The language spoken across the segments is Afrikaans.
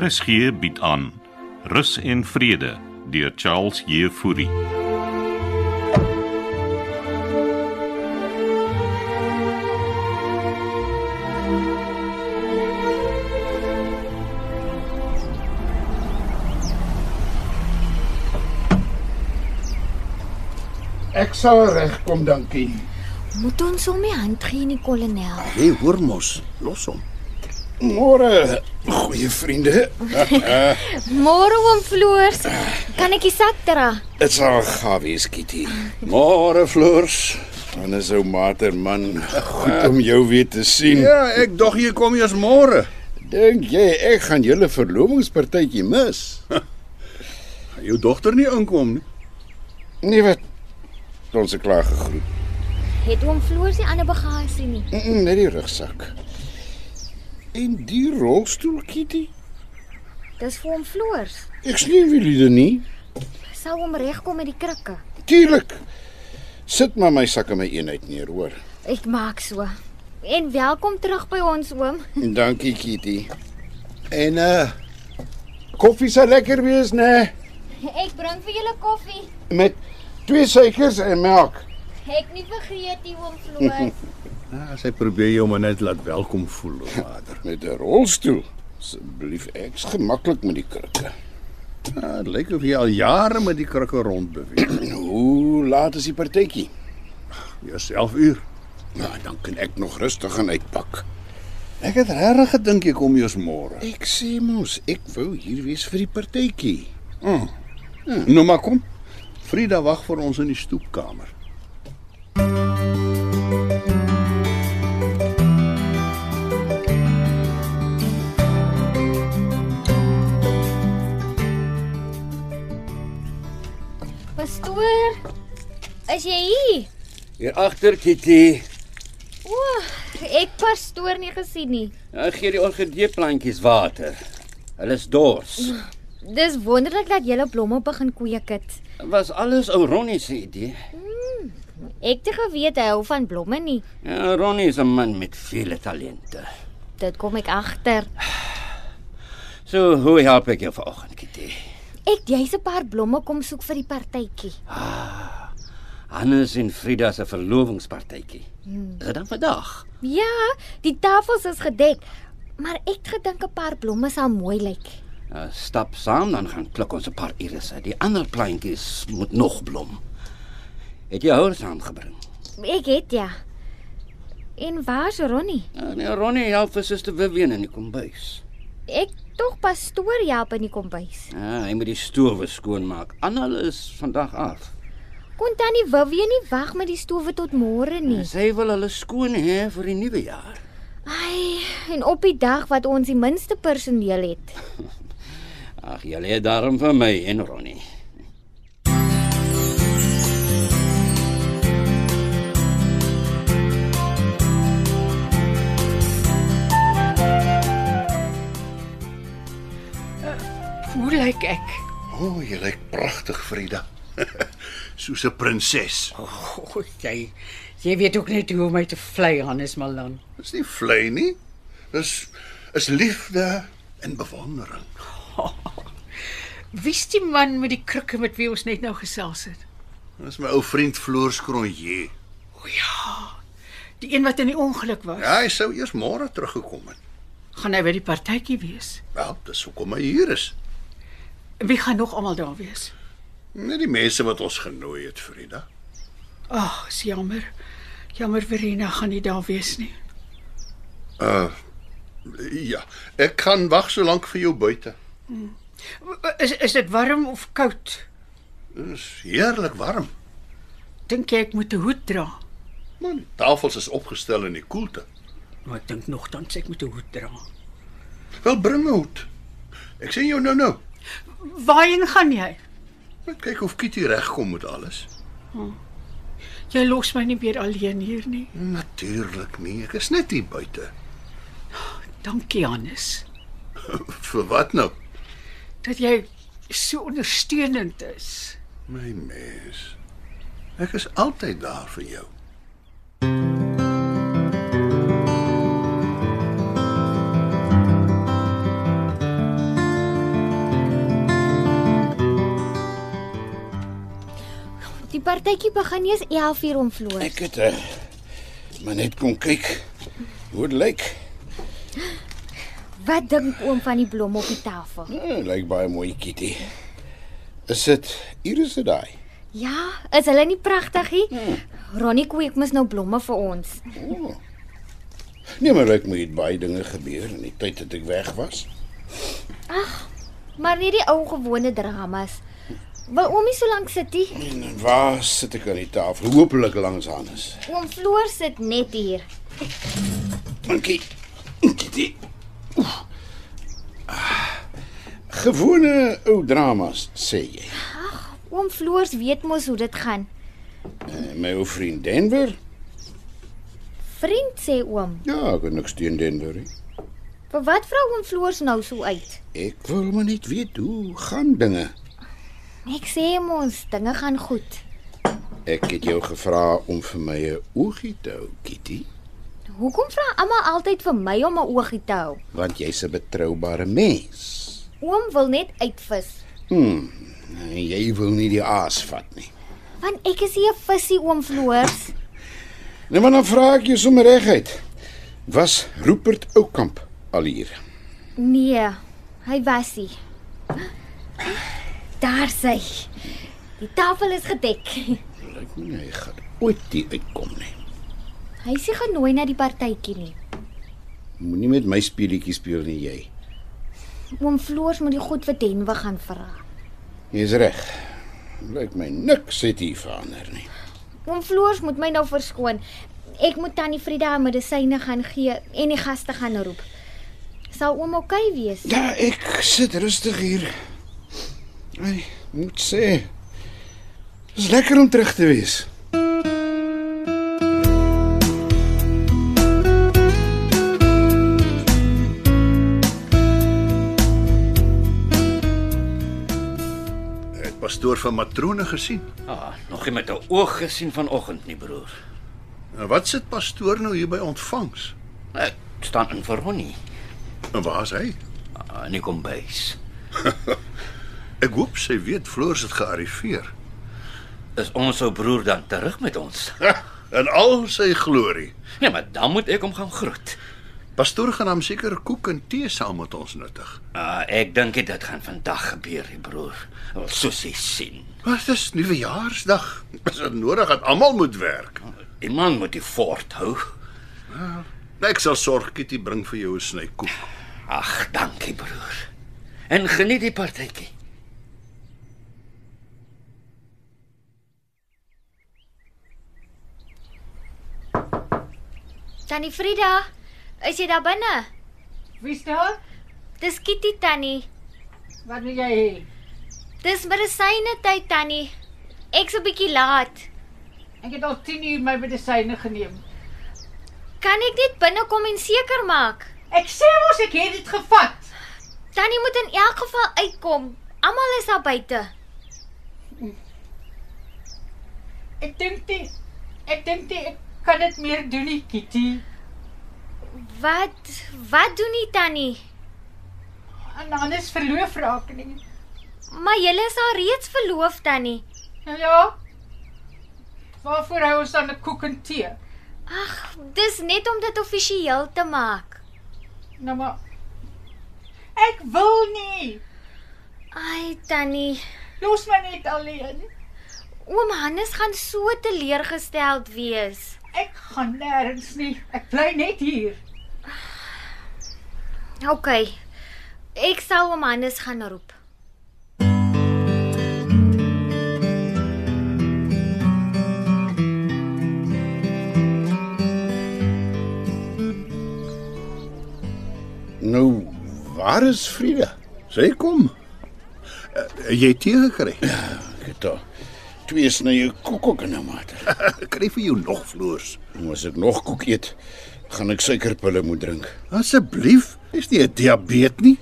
RSG bied aan Rus en Vrede deur Charles Jefouri. Ek sal regkom, dankie. Moet ons hom nie hand gee nie, kolonel. Hé, hey, hoor mos, los hom. Môre, goeie vriende. Môre oom Floors, kan ek die sak dra? Dit sal gaaf wees, Kitty. Môre, Floors. Dan is ou mater man goed om jou weer te sien. Ja, ek dog jy kom eers môre. Dink jy ek gaan julle verlovingspartytjie mis? Gaan Jou dogter nie inkom nie. Nee wat. Ons het klaar gegroet. Het oom Floors die ander bagasie nie? Mm, mm, Net die rugsak. En die rolstoel, Kitty? Dis vir oom Floors. Ek sien jullie dit nie. Sou hom regkom met die krikke. Tuurlik. Sit maar my sak in my eenheid neer, hoor. Ek maak so. En welkom terug by ons oom. Dankie, Kitty. En uh koffie sal lekker wees, né? Ek bring vir julle koffie. Met twee suikers en melk. Ek nie vergeet nie oom Floors. Ah, sy probeer jou maar net laat welkom voel, o vader. Met 'n rolstoel. Asseblief, ek's gemaklik met die krikke. Ah, dit lyk of jy al jare met die krikke rond beweeg. Hoe laat is die partytjie? Eers 11 uur. Nou, dan kan ek nog rustig gaan uitpak. Ek het regtig gedink jy kom eers môre. Ek sê mos, ek wou hier wees vir die partytjie. Nou maar kom. Frida wag vir ons in die stoepkamer. Pastoor, is jy hier? Hier agter Kitty. O, ek pastoor nie gesien nie. Nou gee die orgidee plantjies water. Hulle is dors. Dis wonderlik dat julle blomme begin kweek het. Was alles ou Ronnie se idee. Ek het nie geweet hy hou van blomme nie. Ja, Ronnie is 'n man met vele talente. Dit kom ek agter. So, hoe help ek jou vanoggend, Kitty? Ek jy's 'n paar blomme kom soek vir die partytjie. Hannes en Frida se verlovingspartytjie. Is dit dan vandag? Ja, die tafels is gedek, maar ek het gedink 'n paar blomme sal mooi lyk. Nou, stap saam dan gaan klik ons 'n paar irisse. Die ander plantjies moet nog blom. Het jy houers saamgebring? Ek het ja. En waar's Ronnie? Nou, nee, Ronnie help vir suster Vivian in die kombuis. Ek tog pastoor help in die kombuis. Ja, hy moet die stoof skoonmaak. Anna is vandag af. Kon tannie Wiwie nie wag met die stowwe tot môre nie. Sy wil hulle skoon hê vir die nuwe jaar. Ai, en op die dag wat ons die minste personeel het. Ag, jy lê daarom vir my en Ronnie. Hoe lyk ek? O, oh, jy lyk pragtig, Frida. Soos 'n prinses. O, jy jy weet ook net hoe om my te vlei Hannes Malan. Dis nie vlei nie. Dis is liefde en bewondering. Wie's die man met die krikke met wie ons net nou gesels het? Dis my ou vriend Floors Cronje. O ja. Die een wat in die ongeluk was. Ja, hy sou eers môre teruggekom het. Gaan hy by die partytjie wees? Wel, dis hoekom hy hier is. Wie gaan nog almal daar wees? Net die mense wat ons genooi het, Frida. Ag, is jammer. Jammer Verena gaan nie daar wees nie. Ja, ek kan wag so lank vir jou buite. Is is dit warm of koud? Dis heerlik warm. Dink jy ek moet 'n hoed dra? Man, die tafels is opgestel in die koelte. Maar ek dink nogtans ek moet 'n hoed dra. Wel bring 'n hoed. Ek sien jou nou nou. Waarheen gaan jy? Net kyk of Kitty regkom met alles. Jy los my nie weer alleen hier nie. Natuurlik nie. Ek is net hier buite. Dankie Hannes Vir wat nou? dat jy so ondersteunend is. My mens. Ek is altyd daar vir jou. Die partytjie begin eers 11:00 om vloer. Ek het uh, maar net kom kyk hoe dit lyk. Wat dink oom van die blomme op die tafel? Uh, lyk baie mooi, Kitty. Is dit Iris se daai? Ja, is hulle nie pragtig nie? Ronnie kweek mos nou blomme vir ons. Nee, maar ek moet baie dinge gebeur in die tyd dat ek weg was. Maar nie die ou gewone dramas. Wil oomie so lank sit hier? En dan waar sit ek aan die tafel? Hoopelik langs Hannes. Oom Floor sit net hier. Dankie. Kitty. Ah, Gewone ou dramas sê jy. Oom Floors weet mos hoe dit gaan. En my ou vriend Denver? Vriend sê oom. Ja, ek het niks teen Denver nie. Vir wat vra oom Floors nou so uit? Ek wil maar net weet hoe gaan dinge. Ek sê mos, dinge gaan goed. Ek het jou gevra om vir my 'n oogie te hou, Kitty, Hoekom vra almal altyd vir my om 'n oogie te hou? want jy's 'n betroubare mens. Oom wil net uitvis. En jy wil nie die aas vat nie. Want ek is nie 'n visie oom Floors. Nee, maar dan vra ek jou sommer reguit. Was Rupert Oukamp al hier? Nee, hy was nie. Daar sy. Die tafel is gedek. Lyk nie hy gaan ooit hier uitkom nie. Hy is nie genooi na die partytjie nie. Moenie met my speletjies speel nie jy. Oom Floors moet die goed vir Denwe gaan vra. Jy's reg. Lyk my niks het hier verander nie. Oom Floors moet my nou verskoon. Ek moet tannie Frieda haar medisyne gaan gee en die gaste gaan roep. Sal oom oukei okay wees? Ja, ek sit rustig hier. Ai, moet sê. Dis lekker om terug te wees. Het pastoor van matrone gesien. Ah, nog nie met 'n oog gesien vanoggend nie, broer. En wat sit pastoor nou hier by ontvangs? Ek staan in vir Ronnie En waar is hy? ah, in die kombuis. Ek hoop sy weet Floors het gearriveer. Is ons ou broer dan terug met ons? Ha, In al sy glorie. Nee, maar dan moet ek hom gaan groet. Pastoor gaan hom seker koek en tee saam met ons nuttig. Ah, ek dink nie dit gaan vandag gebeur, die broer. Wel, Soos jy sien. Maar dis nuwejaarsdag. Is dit nodig dat almal moet werk? Die man moet die fort hou. Nou, Ek sal sorg Kitty bring vir jou 'n sny koek. Ag, dankie broer. En geniet die partytjie. Tannie Frieda, is jy daar binne? Wie is daar? Dis Kitty tannie. Wat wil jy hê? Dis medisyne tyd tannie. Ek's 'n bietjie laat. Ek het al 10 uur my medisyne geneem. Kan ek net binne kom en seker maak? Ek sê mos ek het dit gevat. Tannie moet in elk geval uitkom. Almal is daar buite. Ek dink nie ek dink nie ek kan dit meer doen nie, Kitty. Wat wat doen jy tannie? En dan is verloof raak nie. Maar julle is al reeds verloof tannie. Nou ja. Waarvoor hou ons dan 'n koek en tee? Ag, dis net om dit offisieel te maak. Nou maar Ek wil nie. Ai tannie, Los my net alleen. oom Hannes gaan so teleurgesteld wees. Ek gaan nêrens nie. Ek bly net hier. OK. Ek sal oom Hannes gaan roep. Nou, waar is Frida? Sy kom. Eh, Jy het tee gekry. Ek het al twee snye koek ook in 'n mate. Ek kry vir jou nog Floors. Nou as ek nog koek eet, gaan ek suikerpille moet drink. Asseblief, is nie 'n diabetes nie.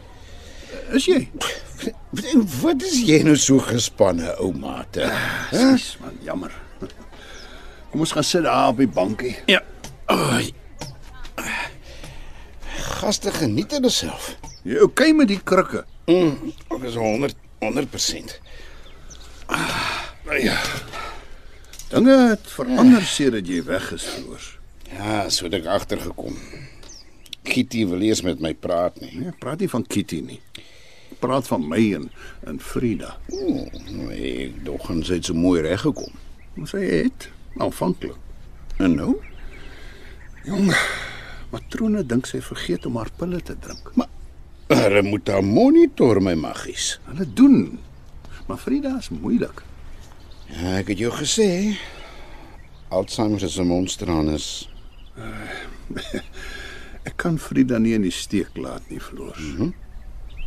Is jy? Wat is jy nou so gespanne, ou mate? Dis man, jammer. Kom ons gaan sit daar op die bankie. Ja. Ai. Gaste geniet hulle self. Jy okay met die krikke? Ek is 100 100%. Ah, nou ja. Dinge het verander sedert jy weg is, Floors. Ja, so het ek agtergekom. Kitty wil eers met my praat nie. Nee, praat nie van Kitty nie. Praat van my en en Frida. O, nou, ek dog en sy het so mooi reg gekom. Ons sê dit aanvanklik. En nou? Jong, matrone dink sy vergeet om haar pille te drink. Hulle moet haar monitor my maggies. Hulle doen. Maar Frida is moeilik. Ja, ek het jou gesê. Alzheimer is 'n monster anders. Ek kan Frida nie in die steek laat nie, Floors. Mm -hmm.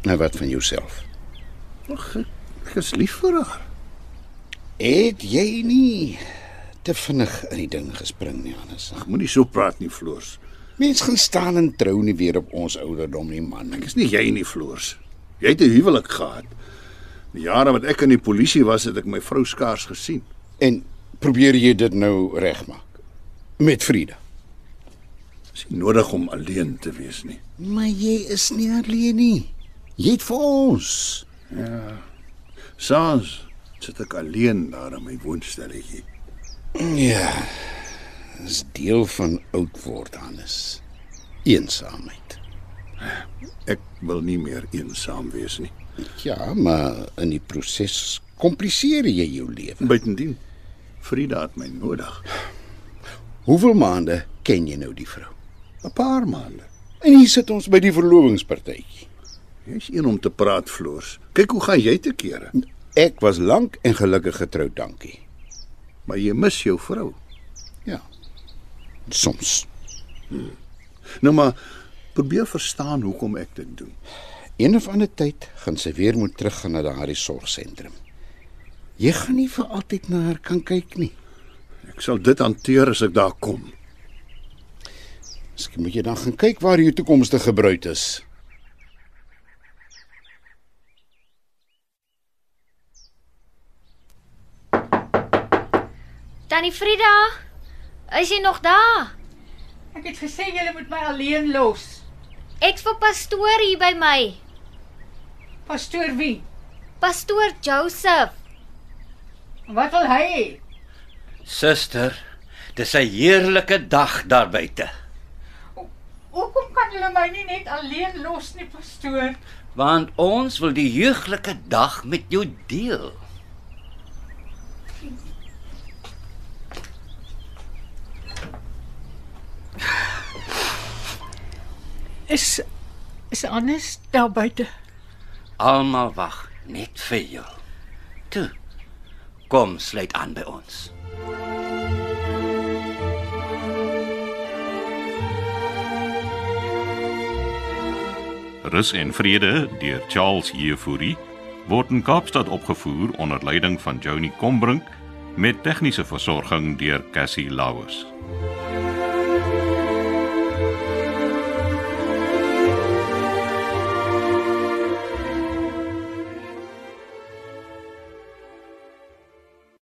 Nou wat van jouself? Ag, ek, ek is lief vir haar. Het jy nie te vinnig in die ding gespring nie, Hannes? Ag, Moenie so praat nie, Floors. Mens gaan staan en trou nie weer op ons ouderdom nie, man. Ek Dis nie jy nie, Floors. Jy het 'n huwelik gehad. Die jare wat ek in die polisie was, het ek my vrou skaars gesien. En probeer jy dit nou regmaak met Frida? Dis nie nodig om alleen te wees nie. Maar jy is nie alleen nie. Jy het vir ons. Saans sit ek alleen daar in my woonstelletjie. Ja. Dis deel van oud word, Hannes. Eensaamheid. Ek wil nie meer eensaam wees nie. Ja, maar in die proses kompliseer jy jou lewe. Buitendien, Frida het my nodig. Hoeveel maande ken jy nou die vrou? 'n Paar maande. En hier sit ons by die verlovingspartytjie. Jy's een om te praat, Floors. Kyk hoe gaan jy te kere. Ek was lank en gelukkig getroud, dankie. Maar jy mis jou vrou. Ja. Soms Nou maar probeer verstaan hoekom ek dit doen. Een of ander tyd gaan sy weer moet teruggaan na daardie sorgsentrum. Jy gaan nie vir altyd na haar kan kyk nie. Ek sal dit hanteer as ek daar kom. Miskien moet jy dan gaan kyk waar jou toekomstige bruid is. Tannie Frida, is jy nog daar? Ek het gesê julle moet my alleen los. Ek's vir pastoor hier by my. Pastoor wie? Pastoor Joseph. Wat wil hy hê? Suster, dis 'n heerlike dag daar buite. Hoekom kan hulle my nie net alleen los nie, pastoor? Want ons wil die jeuglike dag met jou deel. Is is anders daar buite. Almal wag net vir jou. Toe. Kom, sluit aan by ons. Rus en Vrede deur Charles Jefouri word in Kaapstad opgevoer onder leiding van Johnny Combrink met tegniese versorging deur Cassie Lauers.